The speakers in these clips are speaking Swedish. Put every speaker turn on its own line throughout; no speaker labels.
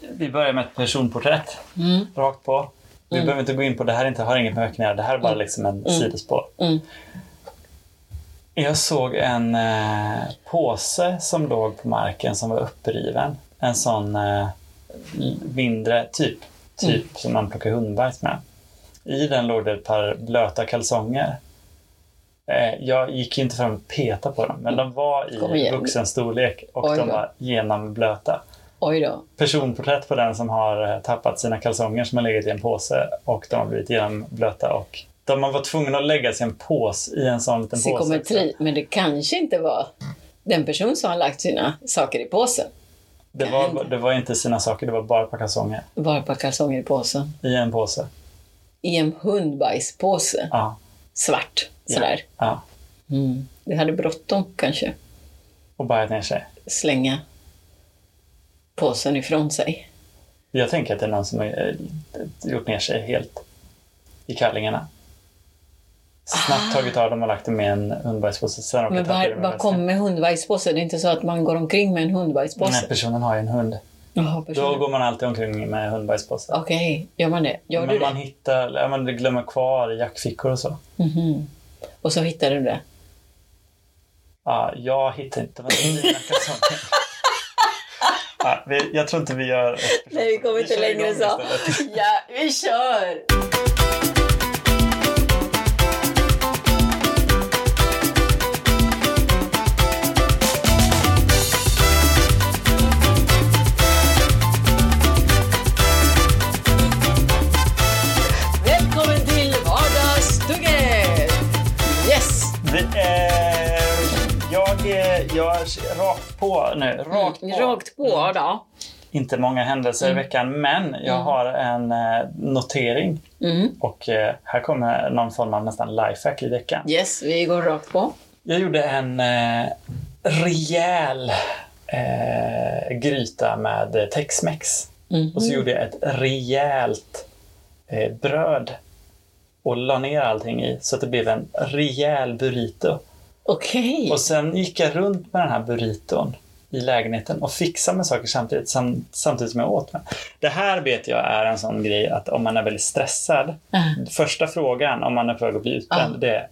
vi börjar med ett personporträtt. Rakt på. Vi behöver inte gå in på det här, inte, har inget med veckan att göra. Det här är bara liksom en sidospår.
Mm. Mm.
Jag såg en eh, påse som låg på marken som var uppriven. En sån eh, mindre typ, typ
Mm.
som man plockar hundbajs med. I den låg det ett par blöta kalsonger. Eh, jag gick inte fram och petade på dem, men de var
Mm. Kom
i
igen.
vuxenstorlek och
Oj
de
då.
var genomblöta.
Oj då.
Personporträtt på den som har eh, tappat sina kalsonger som har legat i en påse och de har blivit genomblöta. Och de har varit tvungna att lägga sin pås i en sån liten påse.
Psykometri. Men det kanske inte var den person som har lagt sina saker i påsen.
Det var, det var inte sina saker, det var bara ett par kalsonger
Bara ett par kalsonger i påsen.
i en påse.
I en hundbajspåse.
Ja,
Svart. Sådär.
ja.
Mm. Det hade bråttom kanske.
Och bajat ner sig.
Slänga påsen ifrån sig.
Jag tänker att det är någon som har eh, gjort ner sig helt i kallingarna. Snabbt tagit av dem och lagt dem i en hundbajspåse. Sen råkat
Ah. Men
tappa i
var,
dem i
var
väskan.
kommer hundbajspåsen? Det är inte så att man går omkring med en
Den här
hundbajspåse.
personen har ju en hund.
Jaha,
Då
personen.
går man alltid omkring med hundbajspåse.
Okej, gör man det? Gör du
Men man
det?
hittar, ja, man glömmer kvar i jackfickor och så.
Mhm. Och så hittar du det?
Ja, jag hittar inte vad det är i mina kalsonger. Ja, vi, jag tror inte vi gör... ett-
Nej, vi kommer inte
kör
längre
igång
så.
istället.
Ja, vi kör! Välkommen till Vardagsstugget! Yes!
Vi, eh, jag, eh, jag rakt på nu. Rakt på.
Mm, Rakt Mm. på då.
Inte många händelser i veckan, men jag har en eh, notering.
Mm.
Och eh, här kommer någon form av nästan lifehack i veckan.
Yes, vi går rakt på.
Jag gjorde en eh, rejäl eh, gryta med eh, Tex-Mex.
Mhm.
Och så gjorde jag ett rejält eh, bröd och la ner allting i så att det blev en rejäl burrito.
Okej.
Och sen gick jag runt med den här burriton i lägenheten och fixade med saker samtidigt, sam, samtidigt som jag åt med. Det här vet jag är en sån grej att om man är väldigt stressad,
Ah.
första frågan om man är på väg att bli utbränd,
Ah.
det är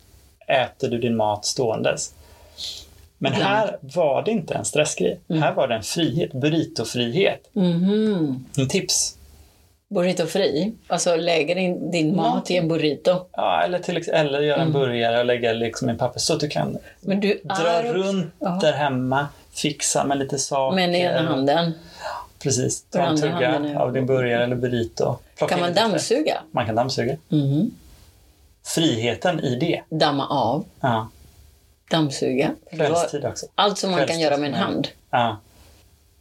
äter du din mat ståendes? Men
Ibland.
här var det inte en stressgrej.
Mm.
Här var det en frihet, burritofrihet.
Mhm.
En tips.
Burrito fri. Alltså lägger din, din mat i en burrito.
Ja, eller, till, ex- eller göra
Mm.
en burgare och lägga liksom i papper så att du kan
Men du
dra
är...
runt
Ja.
där hemma, fixa med lite saker.
Men i ena handen.
Precis,
För
ta en
andra handen
tugga
nu.
av din burgare eller burrito. Plocka
Kan
in
man
lite Mm. fläsk.
dammsuga?
Man kan dammsuga.
Mhm.
Friheten i det.
Damma av.
Ja.
Dammsuga. Det var
Kvällstid också.
Allt som man kan
Kvällstid.
göra med en
Ja.
hand.
Ja.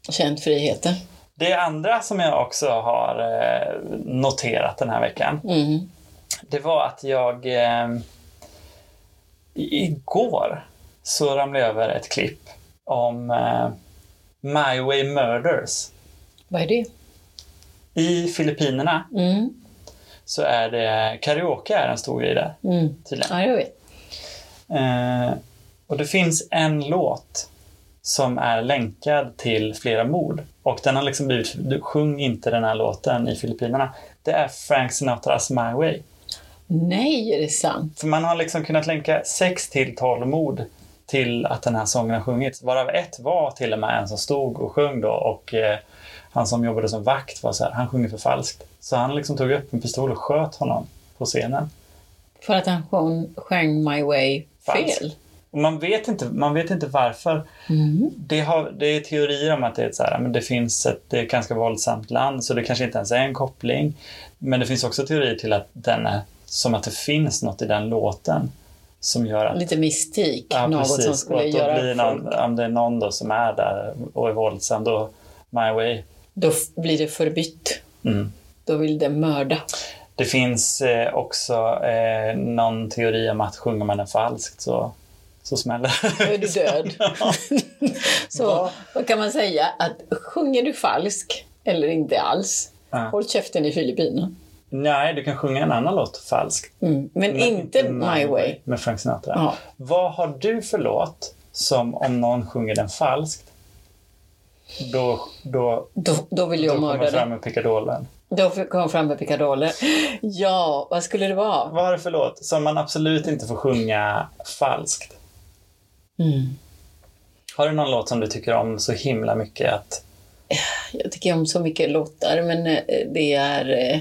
Känt friheten.
Det andra som jag också har eh, noterat den här veckan,
Mm.
det var att jag eh, i- igår så ramlade jag över ett klipp om eh, My Way Murders.
Vad är det?
I Filippinerna
Mm.
så är det karaoke är en stor grej där
Mm.
tydligen.
Ja, jag vet.
Eh, och det finns en låt som är länkad till flera mord. Och den har liksom blivit, du sjung inte den här låten i Filippinerna. Det är Frank Sinatras My Way.
Nej, är det sant?
För man har liksom kunnat länka 6 till 12 mord till att den här sången har sjungits. Varav ett var till och med en som stod och sjöng då och eh, han som jobbade som vakt var så här, han sjunger för falskt. Så han liksom tog upp en pistol och sköt honom på scenen.
För att han sjöng, sjöng My Way
Falskt.
fel.
Och man vet inte, man vet inte varför.
Mm.
det, har, det är teorier om att det, är ett så här, men det finns ett, det är ett ganska våldsamt land så det kanske inte ens är en koppling. Men det finns också teorier till att den är, som att det finns något i den låten som gör att
Lite mystik.
Ja,
något
precis.
som
och
skulle
att då blir
göra folk...
någon, Om det är någon då som är där och är våldsam, då my way.
Då f- blir det förbytt.
Mm.
Då vill det mörda.
Det finns eh, också eh, någon teori om att sjunger man den falskt så, så smäller
Då är du död. Så vad kan man säga? Att sjunger du falsk eller inte alls,
Ja.
håll käften i Filippinerna.
Nej, du kan sjunga en annan låt falskt.
Mm. Men, inte My Way.
Med Frank Sinatra.
Ja.
Vad har du för låt som om någon sjunger den falskt Då, då,
Då, då vill
då
jag
kommer
mörda
jag
dig.
fram med pickadollen.
Då kom jag fram med pickadoller. Ja, vad skulle det vara?
Vad är det för låt som man absolut inte får sjunga falskt?
Mm.
Har du någon låt som du tycker om så himla mycket att...
Jag tycker om så mycket låtar, men eh, det är... eh,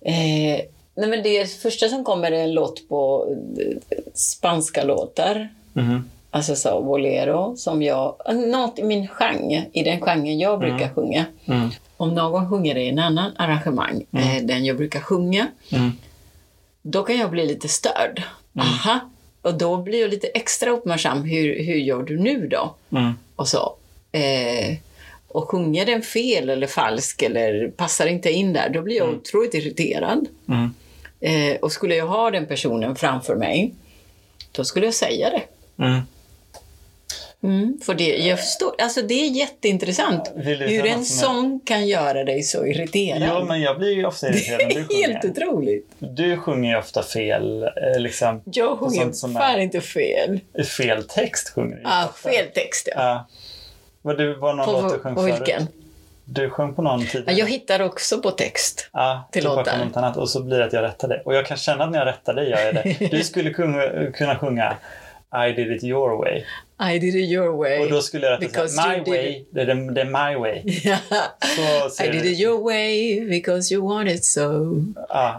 Eh, nej, men det första som kommer är en låt på eh, spanska låtar.
Mhm.
Alltså så, bolero, som jag... Något i min genre, i den genren jag brukar sjunga.
Mm.
Om någon sjunger det i en annan arrangemang, eh, den jag brukar sjunga,
Mm.
då kan jag bli lite störd. Aha! Och då blir jag lite extra uppmärksam. Hur, hur gör du nu då?
Mm.
Och så. Eh, och sjunger den fel eller falsk eller passar inte in där, då blir jag otroligt irriterad.
Mm.
Eh, och skulle jag ha den personen framför mig, då skulle jag säga det.
Mm.
Mm, för det, jag förstår, alltså det är jätteintressant
Vill du
hur
säga
en
något som är-
sång kan göra dig så irriterad.
Jo, men jag blir ju ofta
det
irriterad när du
är helt
sjunger.
otroligt.
Du sjunger ju ofta fel, eh, liksom,
Jag
Och
sjunger
sånt som är-
fan inte fel.
fel text sjunger du ju
Ah,
ofta.
fel text, ja.
Ja. Var det var någon låt du
på,
sjöng
på
förut?
vilken?
Du sjöng på någon
Ja,
tidigare.
jag hittar också på text.
Ja,
till
till låtar.
låtar.
Något annat, och så blir det att jag rättar dig. Och jag kan känna att när jag rättar dig gör jag det. Du skulle kunna, kunna sjunga I did it your way.
I did it your way.
Och då skulle jag rätta
Because
så här,
you
My
did
way, det är, det är my way. Så
I
ser
did
du-
it your way because you want it so.
Ja,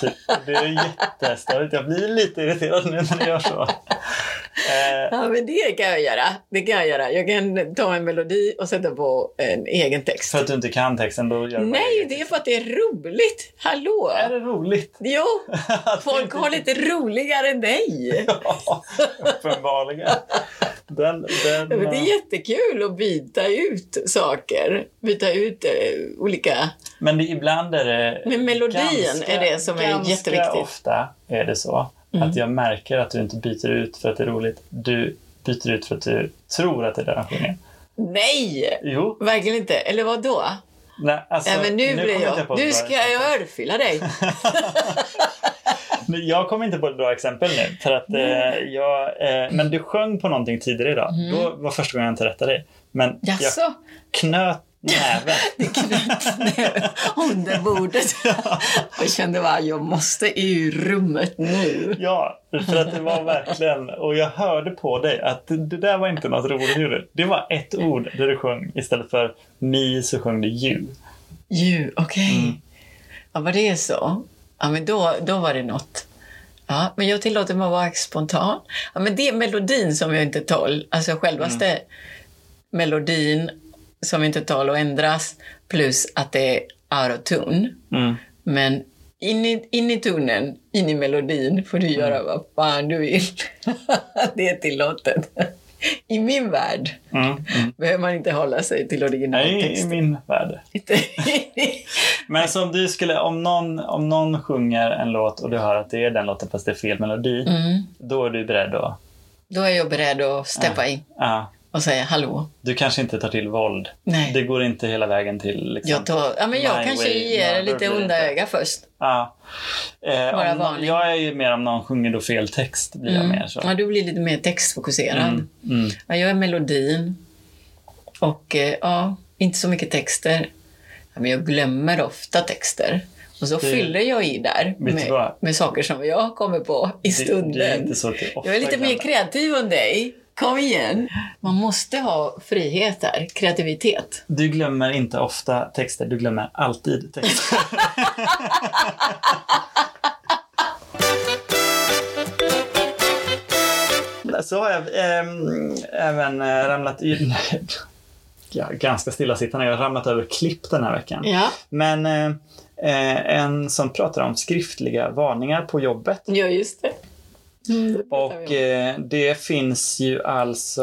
typ. Det är jättestörigt. Jag blir lite irriterad nu när jag gör så. Eh,
Ja, men det kan jag göra. Det kan jag göra. Jag kan ta en melodi och sätta på en egen text.
för att du inte kan texten, då gör du bara
Nej,
eget.
det är för att det är roligt. Hallå!
Är det roligt?
Jo,
Att det
folk
inte-
har lite roligare än dig.
Ja, uppenbarligen. Den, den, eh,
Ja, men Det är jättekul att byta ut saker. Byta ut eh, olika...
Men det, ibland är det...
Men melodin är det som är
ganska
jätteviktigt. Mm.
ofta är det så att jag märker att du inte byter ut för att det är roligt. Du byter ut för att du tror att det är där han sjunger.
Nej!
Jo,
Verkligen inte. Eller vad då?
nej, alltså,
Nej, men nu,
kommer
blir
inte på
jag...
ett
Nu
bra
ska
exempel.
jag örfila dig.
Men Jag kommer inte på ett bra exempel nu. För att, eh, jag, eh, men du sjöng på någonting tidigare idag. Då var första gången jag inte rättade dig. Men jag
Mhm. Jaså?
knöt näven.
Under bordet. Och kände bara, jag måste ur rummet nu.
Ja, för att det var verkligen, och jag hörde på dig att det, det där var inte något roligt gjorde. Det var ett ord där du sjöng, istället för mi så sjöng du ju.
Ju, okej. Ja, var det så? Ja, men då, då var det något. Ja, men jag tillåter mig att vara spontan. Ja, men det är melodin som jag inte tål. Alltså självaste melodin som inte tål att ändras. Plus att det är autotune.
Mm.
Men in i, in i tonen, in i melodin får du göra vad fan du vill. det är tillåtet. I min värld
Mm. Mm.
behöver man inte hålla sig till
Nej, i
originaltexten.
min värld. Men som du skulle, om någon, om någon sjunger en låt och du hör att det är den låten fast det är fel melodi,
mm.
då är du beredd att,
Då är jag beredd att steppa in
ja,
och säga hallå.
du kanske inte tar till våld.
Nej.
Det går inte hela vägen till liksom,
Jag, tar, ja, men jag
My
kanske
way,
ger
mother,
lite
blir det
onda
inte.
öga först.
Ja. Eh,
Bara
om någon,
varning. Mm.
jag är ju mer om någon sjunger då fel text, blir jag mer så.
Ja, du blir lite mer textfokuserad.
Mm, mm.
Ja, jag är melodin och eh, ja, inte så mycket texter. Ja, men jag glömmer ofta texter. Och så fyller jag i där
du
med,
vad?
med saker som jag kommer på i stunden.
Det, det är inte så att du ofta
jag är lite mer
glömmer.
kreativ än dig. Kom igen! Man måste ha frihet där, kreativitet.
Du glömmer inte ofta texter, du glömmer alltid texter. Så har jag ehm, även eh, ramlat i... Ja, ganska stillasittande. Jag har ramlat över klipp den här veckan.
Ja,
Men eh, eh, en som pratar om skriftliga varningar på jobbet
ja just det. Mm,
Och eh, det finns ju alltså...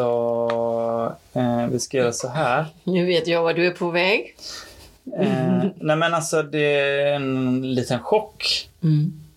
Eh, vi ska göra så här.
Nu vet jag var du är på väg.
Eh, nej men alltså det är en liten chock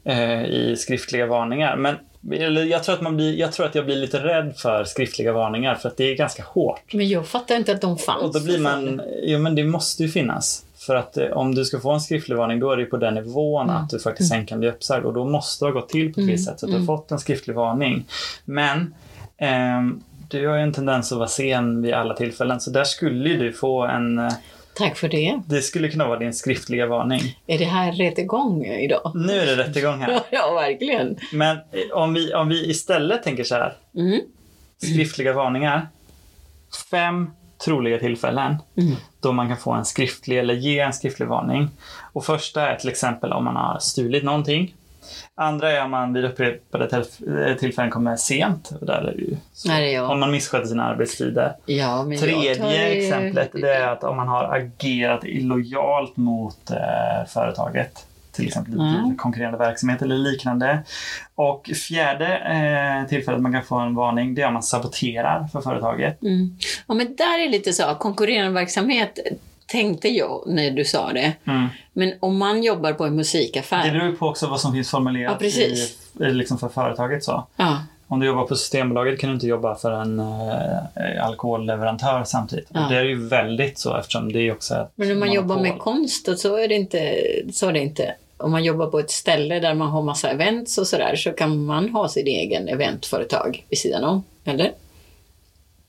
eh, i skriftliga varningar. Men eller jag, tror att man blir, jag tror att jag blir lite rädd för skriftliga varningar för att det är ganska hårt.
Men jag fattar inte att de fanns.
Och då blir man... Jo men det måste ju finnas. För att eh, om du ska få en skriftlig varning då är det ju på den nivån att du faktiskt sen kan bli uppsagd. Och då måste det ha gått till på ett visst sätt så att du har fått en skriftlig varning. Men ehm, Du har ju en tendens att vara sen vid alla tillfällen, så där skulle ju du få en... eh,
Tack för det.
Det skulle kunna vara din skriftliga varning.
Är det här rättegång idag?
Nu är det rättegång här.
Ja, ja verkligen.
Men eh, om vi, om vi istället tänker så här,
Mm.
skriftliga varningar. Fem troliga tillfällen
Mm.
då man kan få en skriftlig eller ge en skriftlig varning. Och första är till exempel om man har stulit någonting. Andra är om man vid upprepade tillf- eh, tillfällen kommer sent. Och där är det ju så.
Här är jag.
Om man missköter sina arbetstider.
Ja, men jag tar
Tredje
ju-
exemplet det är att om man har agerat illojalt mot eh, företaget. Till exempel
Mm.
i konkurrerande verksamhet eller liknande. Och fjärde eh, tillfället man kan få en varning det är om man saboterar för företaget.
Mm. Ja, men där är lite så, konkurrerande verksamhet tänkte jag när du sa det.
Mm.
Men om man jobbar på en
Det
musikaffär.
beror ju på också vad som finns
Ja,
formulerat i,
precis.
i- liksom för företaget. så.
Ja,
Om du jobbar på Systembolaget kan du inte jobba för en eh, alkoholleverantör samtidigt.
Ja.
Och det är ju väldigt så eftersom det är ju också ett
men om man jobbar med
monopol.
konst och så är det inte, så är det inte. Om man jobbar på ett ställe där man har massa events och sådär så kan man ha sitt egen eventföretag vid sidan om. Eller?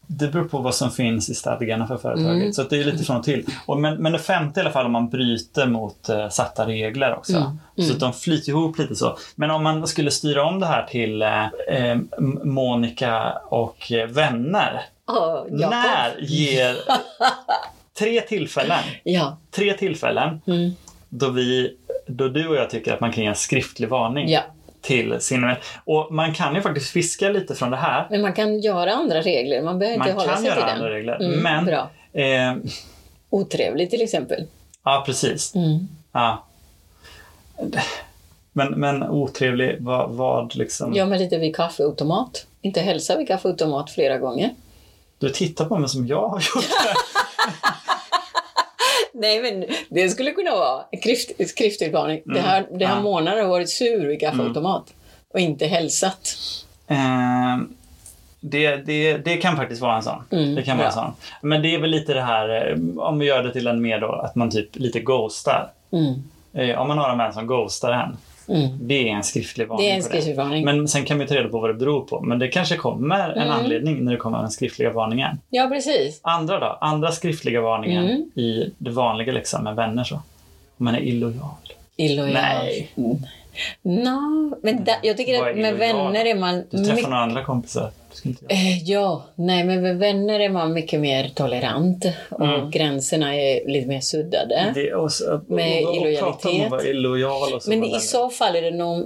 Det beror på vad som finns i stadgarna för företaget.
Mm.
Så att det är lite från och till. Och men, men det femte i alla fall om man bryter mot eh, satta regler också.
Mm.
Så att de flyter ihop lite så. Men om man skulle styra om det här till eh, eh, Monica och eh, vänner.
Ja, Jakob. Mm.
När ger tre tillfällen,
Ja.
tre tillfällen
Mm.
då, vi, då du och jag tycker att man kan ge en skriftlig varning
ja.
till sin... Och man kan ju faktiskt fiska lite från det här.
Men man kan göra andra regler. Man behöver inte
Man
hålla
kan
sig till
göra
den.
andra regler.
Mm,
men
Bra.
Eh,
Otrevlig till exempel.
ja, precis.
Mm.
Ja. Men, men otrevlig, vad, vad liksom...
Ja, men lite vid kaffeautomat. Inte hälsa vid kaffeautomat flera gånger.
Du tittar på mig som jag har gjort.
Nej, men det skulle kunna vara en skrift, skriftlig varning. Det här, det här
Mm. Ja. Mm.
månaden har varit sur vid kaffeautomat och inte hälsat.
Eh, det, det, det kan faktiskt vara en sån.
Mm,
det kan vara en
bra.
sån. Men det är väl lite det här, eh, om vi gör det till en mer då, att man typ lite ghostar.
Mm.
Eh, om man har en vän som ghostar en.
Mm.
Det är en skriftlig varning.
Det är en
på
skriftlig varning.
Men sen kan vi ta reda på vad det beror på. Men det kanske kommer en
Mm.
anledning när det kommer den skriftliga varningen.
Ja, precis.
Andra då? Andra skriftliga varningen
Mm.
i det vanliga liksom med vänner så. Om man är illojal.
Illojal.
Nej.
Mm. Nå, men da, jag tycker
Vad
att
är
med
illojal?
vänner är man...
Du träffar
mycket-
några andra kompisar. Du ska inte göra.
Eh, Ja, nej, men med vänner är man mycket mer tolerant och
Mm.
gränserna är lite mer suddade.
Det, och, så- och,
Eh. Med
och, och, prata om
illojalitet.
att vara illojal och så.
Men
med
i
vänner.
så fall är det någon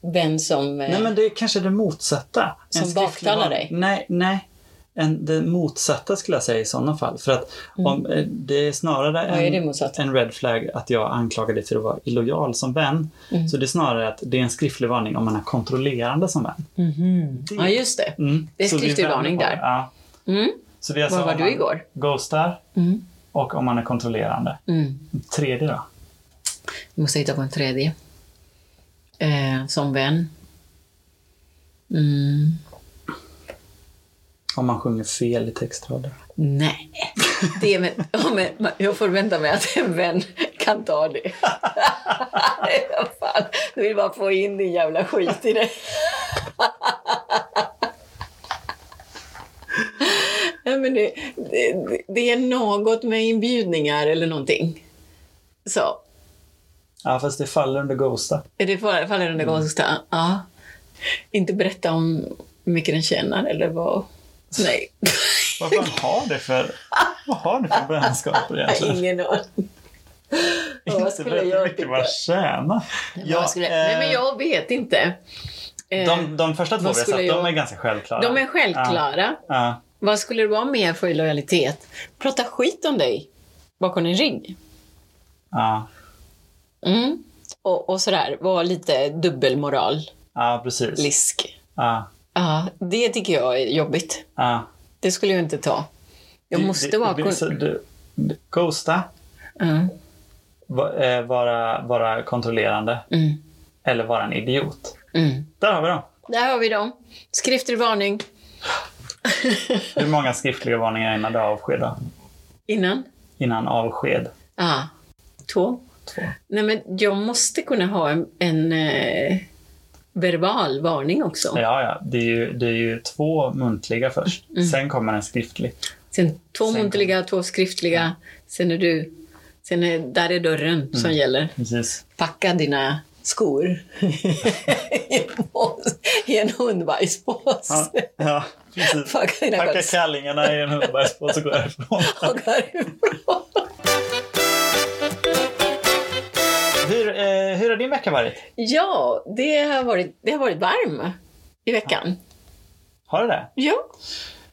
vän som... eh,
Nej men det är kanske det motsatta. En
Som
skriftlig
baktalar
varning.
dig?
Nej, nej. En, det motsatta skulle jag säga i sådana fall. För att om, eh, det är snarare
Vad Mm. är det
en,
motsatt?
en red flag att jag anklagar dig för att vara illojal som vän.
Mm.
Så det är snarare att det är en skriftlig varning om man är kontrollerande som vän.
Mhm. Ja, just det.
Mm.
Det är
Så vi
skriftlig
vänder
varning
på det.
där.
Ja.
Mm.
Så vi har
Var
alltså
var
om
du
man
igår?
Ghostar
Mm.
och om man är kontrollerande.
Mm.
Tredje då?
Jag måste hitta på en tredje. Eh, som vän. Mm.
Om man sjunger fel i textrader.
Nej. Det är med, ja, men, jag förväntar mig att en vän kan ta det. Fan, du vill bara få in din jävla skit i det. Nej, men det, det, det är något med inbjudningar eller någonting. Så,
Ja, fast det faller under ghosta.
är det fall- faller under Ghosta? Ja. Inte berätta om hur mycket den tjänar eller vad. Nej,
Vad fan har det för... Vad har det för vänskaper egentligen?
ingen aning. Ja, Vad
Inte
skulle
vet
jag
Alltså, mycket
tycka?
vad tjäna.
Vad skulle, nej,
eh,
men jag vet inte. Eh,
de,
de,
de första två vi
vad
har
skulle
sett,
jag-
de är ganska självklara.
är självklara.
Ja,
Vad skulle det vara mer för lojalitet? Prata skit om dig bakom din rygg.
ja,
Mm. Och, och sådär, vara lite dubbelmoralisk.
ja, precis. Ja,
Ja, det tycker jag är jobbigt.
ja.
Det skulle jag inte ta. Jag
Det-
måste
det-
vara...
det-
kon-
så du- du- Ghosta,
Ja, mm,
va- eh, vara, vara kontrollerande
mm,
eller vara en idiot.
mm.
Där har vi dem.
Där har vi dem. Skriftlig varning
Hur många skriftliga varningar innan du avsked då?
innan.
Innan avsked?
Ja. Två.
Två.
Nej, men jag måste kunna ha en, en eh, verbal varning också.
Ja, ja. Det är ju, det är ju två muntliga först.
Mm.
Sen kommer en skriftlig.
Sen två
Sen
muntliga, två skriftliga. Sen är du... Sen är, där är dörren
Mm.
som gäller.
Precis.
Packa dina skor i en pås- i en hundbajspåse.
Ja, ja precis.
Packa dina
Packa
skor
kallingarna i en hundbajspåse och gå härifrån.
och gå härifrån.
Hur, eh, hur har din vecka varit?
Ja, det har varit, det har varit varm i veckan.
Har du det?
Ja.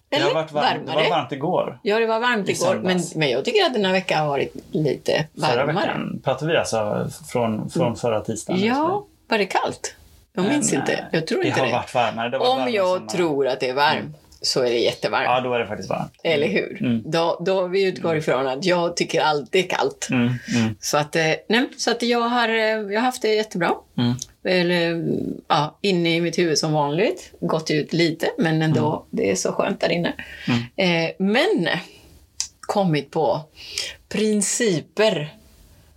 Det
Eller
har varit varmt, det
varmare.
var varmt igår.
Ja, det var varmt
i
igår, men,
söndags.
men jag tycker att den här veckan har varit lite
Förra
varmare. Mm.
veckan pratade vi alltså från, från förra tisdagen. Alltså.
Ja, var det kallt? Jag minns
Men,
inte.
eh,
Jag tror
det
inte
har
det.
varit varmare. Det har varit
Om
varmare
jag
sommar. Mm.
tror Eh. att det är varmt så är det jättevarmt.
Ja, då är det faktiskt varmt.
Eller hur?
Mm.
Då, då vi utgår ifrån att jag tycker allt är kallt.
Mm, mm,
Så att, eh, nej, så att jag, har, eh, jag har haft det jättebra.
mm.
Eller, mm, ja, inne i mitt huvud som vanligt. Gått ut lite, men ändå. Det är så skönt där inne.
Mm.
Eh, men kommit på principer.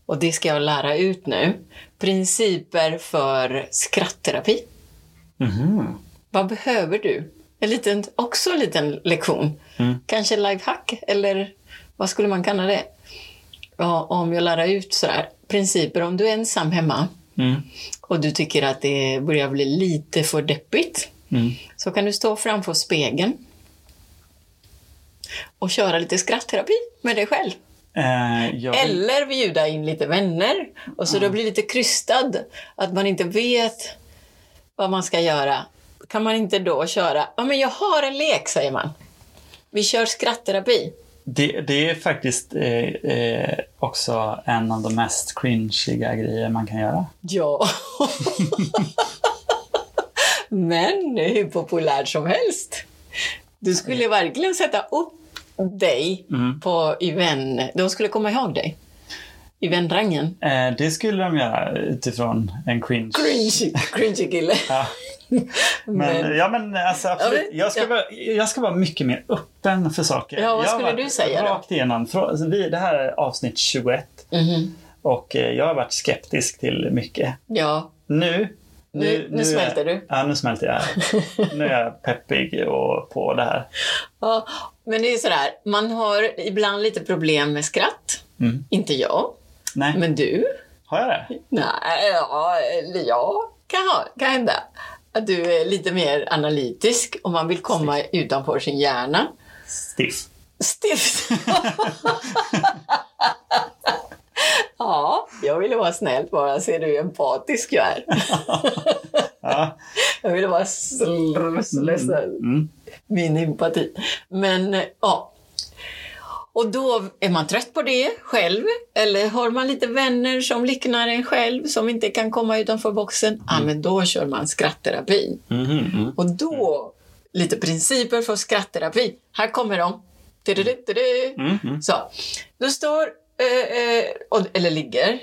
Och det ska jag lära ut nu. Principer för skrattterapi.
Mhm.
Vad behöver du? En liten, också en liten lektion.
Mm.
Kanske lifehack, eller vad skulle man kalla det? Ja, om jag lär ut sådär, principer. Om du är ensam hemma
Mm.
och du tycker att det börjar bli lite för deppigt,
Mm.
så kan du stå framför spegeln och köra lite skrattterapi med dig själv.
Eh, jag vill-
Eller bjuda in lite vänner. Och så då blir det lite krystad. Att man inte vet vad man ska göra. Kan man inte då köra, ja men jag har en lek säger man. Vi kör skrattterapi.
Det, det är faktiskt eh, eh, också en av de mest cringiga grejer man kan göra.
Ja. men hur populär som helst. Du skulle verkligen sätta upp dig
Mm.
på, i vän... De skulle komma ihåg dig. I vänrangen.
Eh, det skulle de göra utifrån en cringe.
Cringe, cringe kille.
Ja. Men, ja, men alltså, absolut.
Ja, men-
jag, ska
ja.
vara, jag ska vara mycket mer öppen för saker.
Ja, vad
jag
skulle
har varit
du säga då?
Rakt igenom. Frå- alltså, vi- Det här är avsnitt 21
Mhm.
och eh, jag har varit skeptisk till mycket.
Ja,
Nu
Nu- nu smälter
är,
du.
Ja, nu smälter jag. nu är jag peppig och på det här.
Ja, men det är ju sådär, man har ibland lite problem med skratt.
Mm.
Inte jag,
Nej,
men du?
har jag det?
Nej, ja, eller jag kan, ha, kan hända. Att du är lite mer analytisk och man vill komma utanför sin hjärna.
Stiff.
Stift! ja, jag ville vara snäll bara. Ser du hur empatisk jag är?
Ja.
jag ville vara sl- sl- sl-
Mm.
min empati. Men eh, ja. Och då är man trött på det själv, eller har man lite vänner som liknar en själv, som inte kan komma utanför boxen, ja
Mm.
men då kör man skrattterapi.
Mhm, mm.
Och då, lite principer för skrattterapi. Här kommer de. Tududududu.
Mm, mm.
Så, du står, eh, eh, och- eller ligger,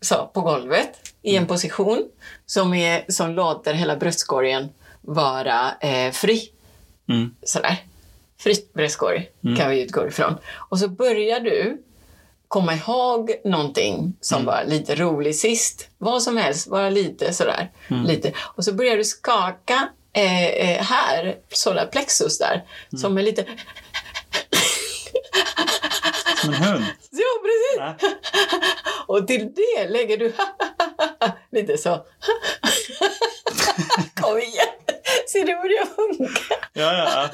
så, på golvet i
Mm.
en position som, är, som låter hela bröstkorgen vara eh, fri
Mm.
sådär. Fritt bröstkorg kan vi utgå ifrån. Och så börjar du komma ihåg någonting som var lite rolig sist. Vad som helst, bara lite sådär. Lite. Och så börjar du skaka eh, eh, här, solar plexus där, som är lite...
Som en hund.
Ja, precis!
Ja.
Och till det lägger du lite så. Kom igen! Ser du hur det funkar?
Ja, ja.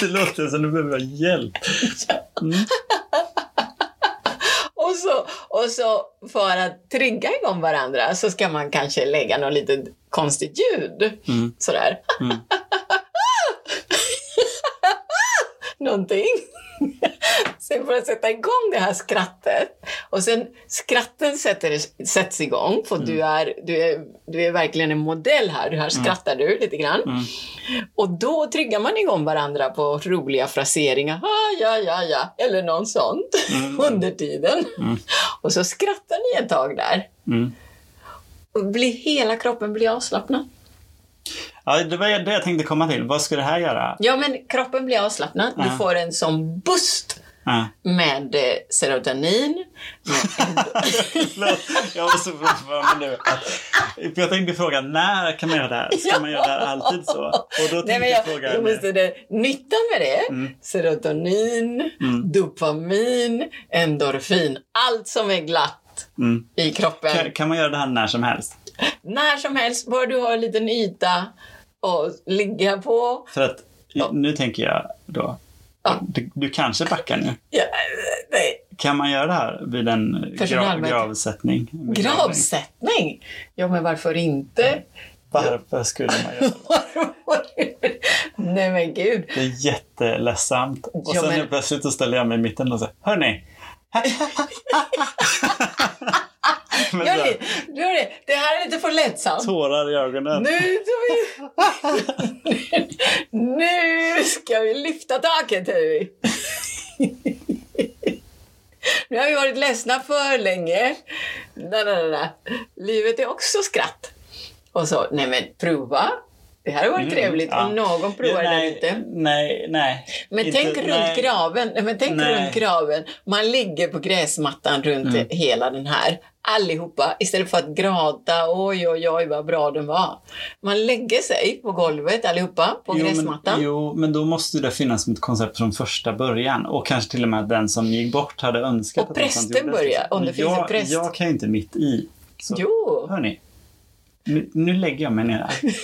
Det låter som du behöver hjälp.
Och så, och så för att trigga igång varandra så ska man kanske lägga något litet konstigt ljud.
Mm.
Sådär.
Mm.
Någonting. Sen för att sätta igång det här skrattet. Och sen skratten sätter, sätts igång för du, är, du, är, du är verkligen en modell här. Du här skrattar du lite grann.
Mm.
Och då triggar man igång varandra på roliga fraseringar. Ah, ja, ja, ja. Eller någon sånt
Mm.
under tiden. Och så skrattar ni ett tag där.
Mm.
Och blir, hela kroppen blir avslappnad.
Ja, det var det jag tänkte komma till. Vad ska det här göra?
Ja, men kroppen blir avslappnad.
Ja.
Du får en sån boost
Ja.
med eh, serotonin. Med
Förlåt, jag var så förvånad nu. Att, för jag tänkte fråga, när kan man göra det här? Ska man göra det här alltid så? Och då tänkte
Nej, men
jag
jag,
fråga
jag
henne.
måste det, nyttan med det,
Mm.
serotonin,
Mm.
dopamin, endorfin, allt som är glatt
Mm.
i kroppen.
Kan, kan man göra det här när som helst?
När som helst, bara du har en liten yta att ligga på.
För att nu tänker jag då,
Ja.
du, du kanske backar nu.
Ja, nej,
Kan man göra det här vid en gra,
Personalarbete.
gravsättning?
gravsättning! Ja, men varför inte?
Varför skulle man göra det?
nej men gud.
Det är jätteledsamt. Och
Ja,
sen
men-
nu plötsligt så ställer jag mig i mitten och säger, hörni! Men
Gör
så här,
det, gör det. Det här är lite för lättsamt.
Tårar i ögonen.
Nu, tar vi... nu ska vi lyfta taket, hörru. Nu har vi varit ledsna för länge. Na, na, na, na. Livet är också skratt. Och så, nej men prova. Det här har varit trevligt
Mm, ja.
om någon provar det
nej,
lite.
Nej, nej.
Men
Inte-
tänk runt
nej.
graven. Nej, men tänk
Nej.
runt graven. Man ligger på gräsmattan runt hela den här. Allihopa. Istället för att gråta. Oj, oj, oj, vad bra den var. Man lägger sig på golvet allihopa på
Jo,
gräsmattan.
Men, jo, men då måste det finnas som ett koncept från första början. Och kanske till och med att den som gick bort hade önskat
Och
att något sånt
prästen
gjordes.
börjar, om det
Men
finns
jag,
en präst.
Jag kan ju inte mitt i. Så,
Jo.
Hörni, nu, nu lägger jag mig ner här.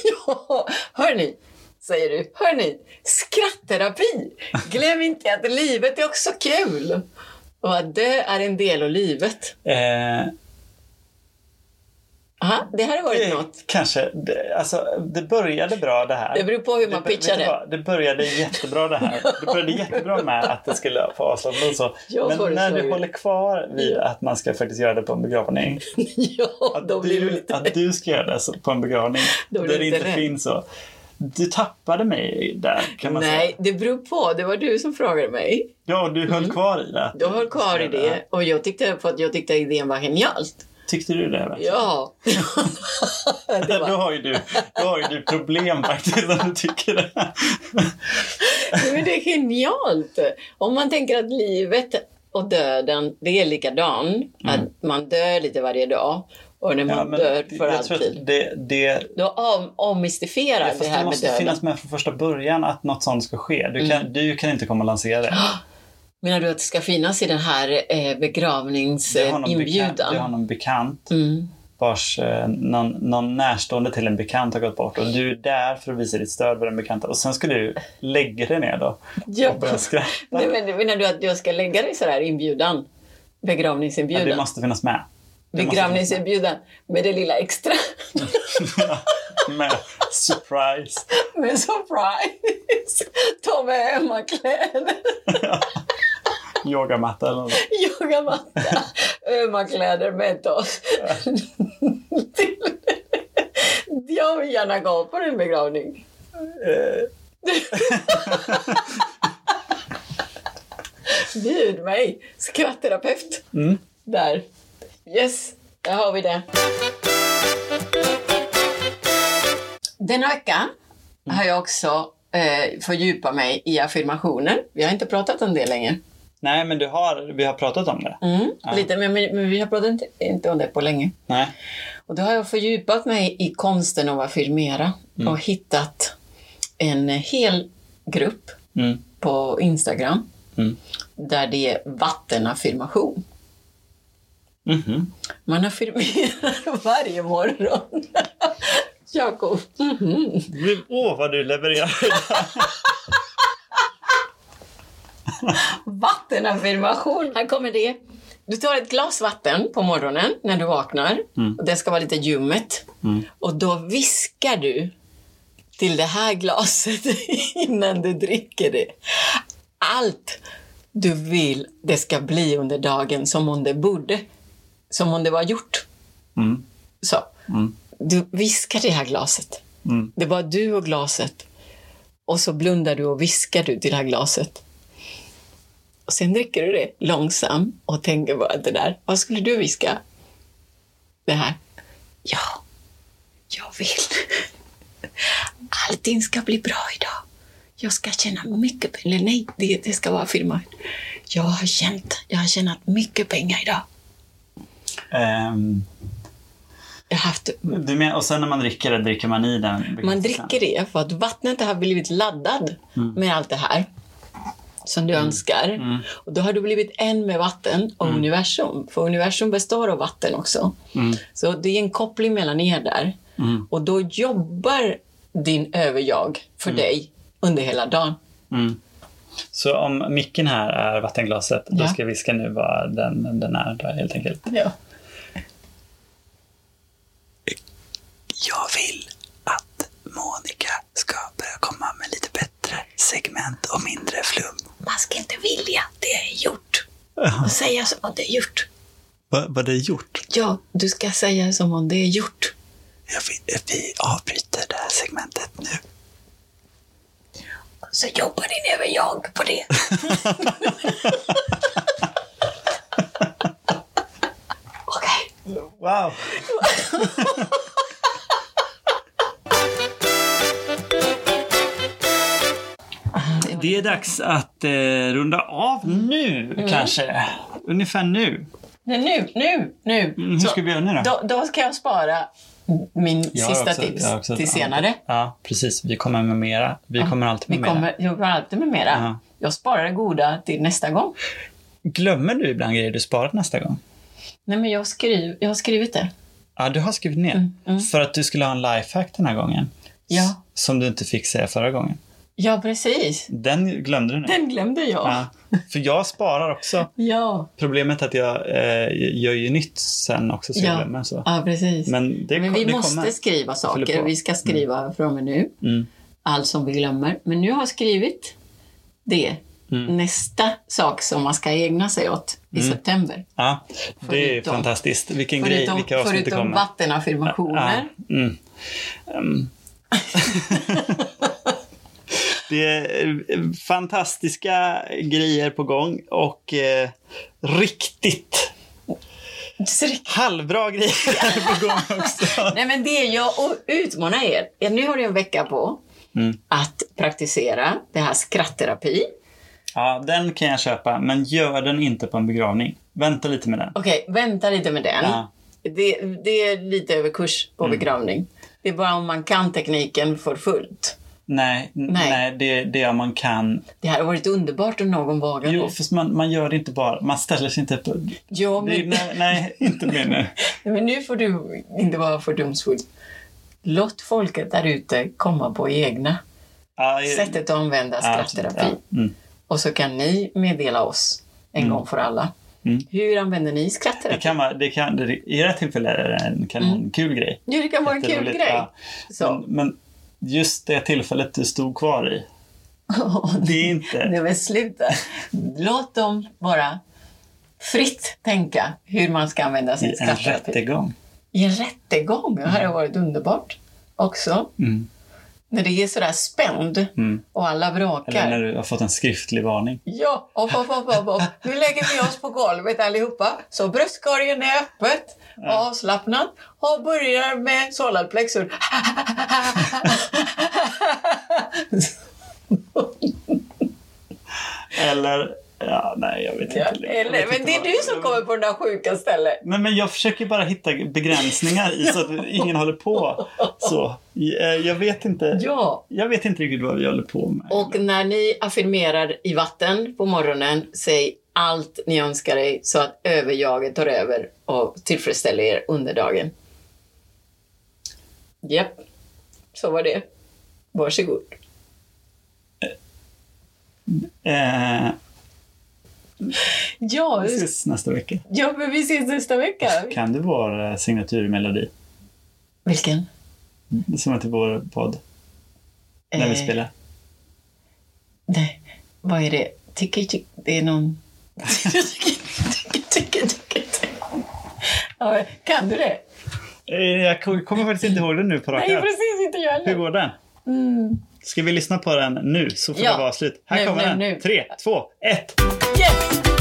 Ja, hörni, säger du. Hörni, skrattterapi. Glöm inte att livet är också kul. Och att dö är en del av livet.
Eh,
Aha, det här har varit
eh,
något.
Kanske. Det, alltså, det började bra det här.
Det beror på hur man
vet
pitchar
du
det.
vad? Det började jättebra det här. Det började jättebra med att det skulle få avslut och så.
Jag
Men när
föreslår
du
ju-
håller kvar vid att man ska faktiskt göra det på en begravning.
Ja,
Att,
då blir du
du,
lite...
att du ska göra det så- på en begravning.
Då blir
där det
du lite
inte
rädd.
finns så. Du tappade mig där kan man
Nej,
säga.
det beror på. Det var du som frågade mig.
Ja, du höll kvar i det.
Du höll kvar i det och jag tyckte, för att jag tyckte idén var genialt.
Tyckte du det? verkligen?
Ja. det
Då,
var,
har ju du, då har ju du problem faktiskt om du tycker det.
men det är genialt. Om man tänker att livet och döden, det är likadan.
Mm.
Att man dör lite varje dag och när man dör för
jag tror
alltid.
att det, det,
Då om, omystifierar
fast
det
det
här med
måste
döden. Mm.
finnas med från första början att något sånt ska ske. Du kan, du kan inte komma och lansera det.
Menar du att det ska finnas i den här eh,
Det har någon bekant,
begravningsinbjudan?
det har någon bekant
Mm.
vars eh, någon, någon närstående till en bekant har gått bort och du är där för att visa ditt stöd för den bekanta och sen ska du lägga dig ner då
Ja.
och börja skratta.
Nej, men menar du att jag ska lägga dig sådär inbjudan?
Ja,
Begravningsinbjudan?
det måste finnas med. Det måste
Begravningsinbjudan med det lilla extra.
finnas med. med. Surprise!
med surprise! Ta med hemmakläder,
Yogamatta eller något.
yogamatta, hemmakläder med oss. Till- jag vill gärna gå på din begravning.
Eh.
Bjud mig, skrattterapeut.
Mm.
Där. Yes, där har vi det. Denna vecka har jag också eh, fördjupat mig i affirmationer. Vi har inte pratat om det länge.
Nej, men du har, vi har pratat om det.
Mm, lite, men, men, men vi har pratat inte, inte om det på länge.
Nej.
Och då har jag fördjupat mig i konsten av att filmera och hittat en hel grupp
Mm.
på Instagram
Mm.
där det är vattenaffirmation.
Mhm.
Man affirmerar varje morgon. Jakob. Mhm.
Du- Åh, vad du levererar!
Vattenaffirmation, här kommer det. Du tar ett glas vatten på morgonen när du vaknar.
Mm.
Och det ska vara lite ljummet. Och då viskar du till det här glaset innan du dricker det. Allt du vill det ska bli under dagen som om det borde. Som om det var gjort.
Mm.
Så. Du viskar det här glaset.
Mm.
Det var du och glaset. Och så blundar du och viskar du till det här glaset. Och sen dricker du det långsamt och tänker bara det där. Vad skulle du viska? Det här. Ja, jag vill. Allting ska bli bra idag. Jag ska känna mycket... Eller nej, det, det ska vara filmat.
jag har känt, jag har tjänat mycket pengar idag.
Ehm,
Jag har haft,
du men, och sen när man dricker det, dricker man i den?
Man dricker det för att vattnet har blivit laddad
Mm.
med allt det här som du önskar. Och då har du blivit en med vatten och universum. För universum består av vatten också.
Mm.
Så det är en koppling mellan er där.
Mm.
Och då jobbar din överjag för dig under hela dagen.
Mm. Så om micken här är vattenglaset, då
Ja.
ska vi viska nu vad den, den är där, helt enkelt.
ja.
Jag vill att Monica ska börja komma med lite bättre segment och mindre flum.
Man ska inte vilja, det är gjort. Och säga som om det är gjort.
Vad vad det är gjort?
Ja, du ska säga som om det är gjort.
Jag vi, vi avbryter det här segmentet nu.
Så jobbar din överjag på det. Okej.
Wow! Det är dags att eh, runda av
Mm.
nu, kanske. Ungefär nu.
Nej, nu, nu, nu.
Mm, hur
Så,
ska vi göra nu då?
då, då ska jag spara min
Jag har
sista
också-
tips
jag har också ett
till
annat.
senare.
Ja, precis. Vi kommer med mera. Vi kommer alltid med
Vi
mera.
kommer, jag kommer alltid med mera.
Ja.
Jag sparar det goda till nästa gång.
Glömmer du ibland grejer du sparat nästa gång?
Nej, men jag, skriv, jag har skrivit det.
Ja, du har skrivit ner. För att du skulle ha en lifehack den här gången.
Mm, Ja.
Som du inte fick säga förra gången.
Ja, precis.
Den glömde du nu.
Den glömde jag.
Ja.
Ja.
För jag sparar också.
Ja,
Problemet är att jag eh, gör ju nytt sen också, så jag
Ja.
glömmer. Så.
precis. Men,
alltså. Men det, kom-
vi
det
måste
kommer.
skriva
fyller
saker.
på.
Vi ska skriva från och med nu.
Mm.
Allt som vi glömmer. Men nu har jag skrivit det.
Mm.
Nästa sak som man ska ägna sig åt i september.
Ja, det är
Förutom-
fantastiskt. Vilken Mm. grej,
Förutom,
vilka avsnitt det
förutom
kommer.
vattenaffirmationer.
Ja, mm. Ehm. det är eh, fantastiska grejer på gång och eh, riktigt Ah, halvbra grejer på gång också.
Nej, men det är jag och utmanar er. Ja, Nu har ni en vecka på
Mm.
att praktisera det här skrattterapi.
Ja, den kan jag köpa, men gör den inte på en begravning. Vänta lite med den.
Okej, vänta lite med den.
Ja. Mm.
Det, det är lite överkurs på begravning. Det är bara om man kan tekniken för fullt.
Nej, n- nej.
Nej.
det, det är om man kan.
Det här hade varit underbart om någon vågade.
Jo, fast man, man gör det inte bara. Man ställer sig inte på...
Ja,
Det,
men,
nej, nej, inte mer nu.
men nu får du inte vara fördomsfull. Låt folket där ute komma på egna
Ja, jag-
sättet att använda
Eh, ja, absolut,
skrattterapi.
ja. Mm.
Och så kan ni meddela oss en gång för alla.
Mm.
Hur använder ni
Det
skrattterapi?
kan vara, det kan, det, i det här tillfället är det en kanonkul grej.
Jo, det kan vara en kul
Jätteroligt,
grej.
ja. Mm. Men,
Mm. Så.
men just det tillfället du stod kvar i, det är inte...
Nej men sluta. Låt dem bara fritt tänka hur man ska använda
I
sin
en
skrattterapi.
rättegång.
I en rättegång det hade varit underbart också.
Mm.
När det är sådär spänd
Mm.
och alla
Eller när
bråkar.
du har fått en skriftlig varning.
Ja, hopp, hopp, hopp, hopp, hopp. Nu lägger vi oss på golvet allihopa. Så bröstkorgen är öppet och avslappnad. Och börjar med solarplexor.
Eller... Ja, nej, jag vet
Ja,
inte. längre. Jag
eller,
vet
men
inte
det är
vad-
du som kommer på den där sjuka stället.
Nej, men jag försöker bara hitta begränsningar i så att ingen håller på så. Eh, Jag vet inte.
Ja,
Jag vet inte riktigt vad vi håller på med.
Och när ni affirmerar i vatten på morgonen, säg allt ni önskar dig så att överjaget tar över och tillfredsställer er under dagen. Japp, så var det. Varsågod.
Eh,
Ja,
vi ses nästa vecka.
ja men vi ses nästa vecka.
Kan du vår eh, signaturmelodi?
Vilken?
Som är till vår podd, när vi spelar.
Eh, Nej, vad är det? Tycker, tycker, det är någon... tycker, tycker, tycker, tycker. Ja, kan du det?
Eh, Jag ko- kommer faktiskt inte ihåg den nu på rak
Nej,
arm.
precis inte jag
Hur
heller.
går den?
Mm.
Ska vi lyssna på den nu så får
Ja.
det vara slut. Här
Nu,
kommer
nu,
den.
nu.
Tre, två, ett.
Yes!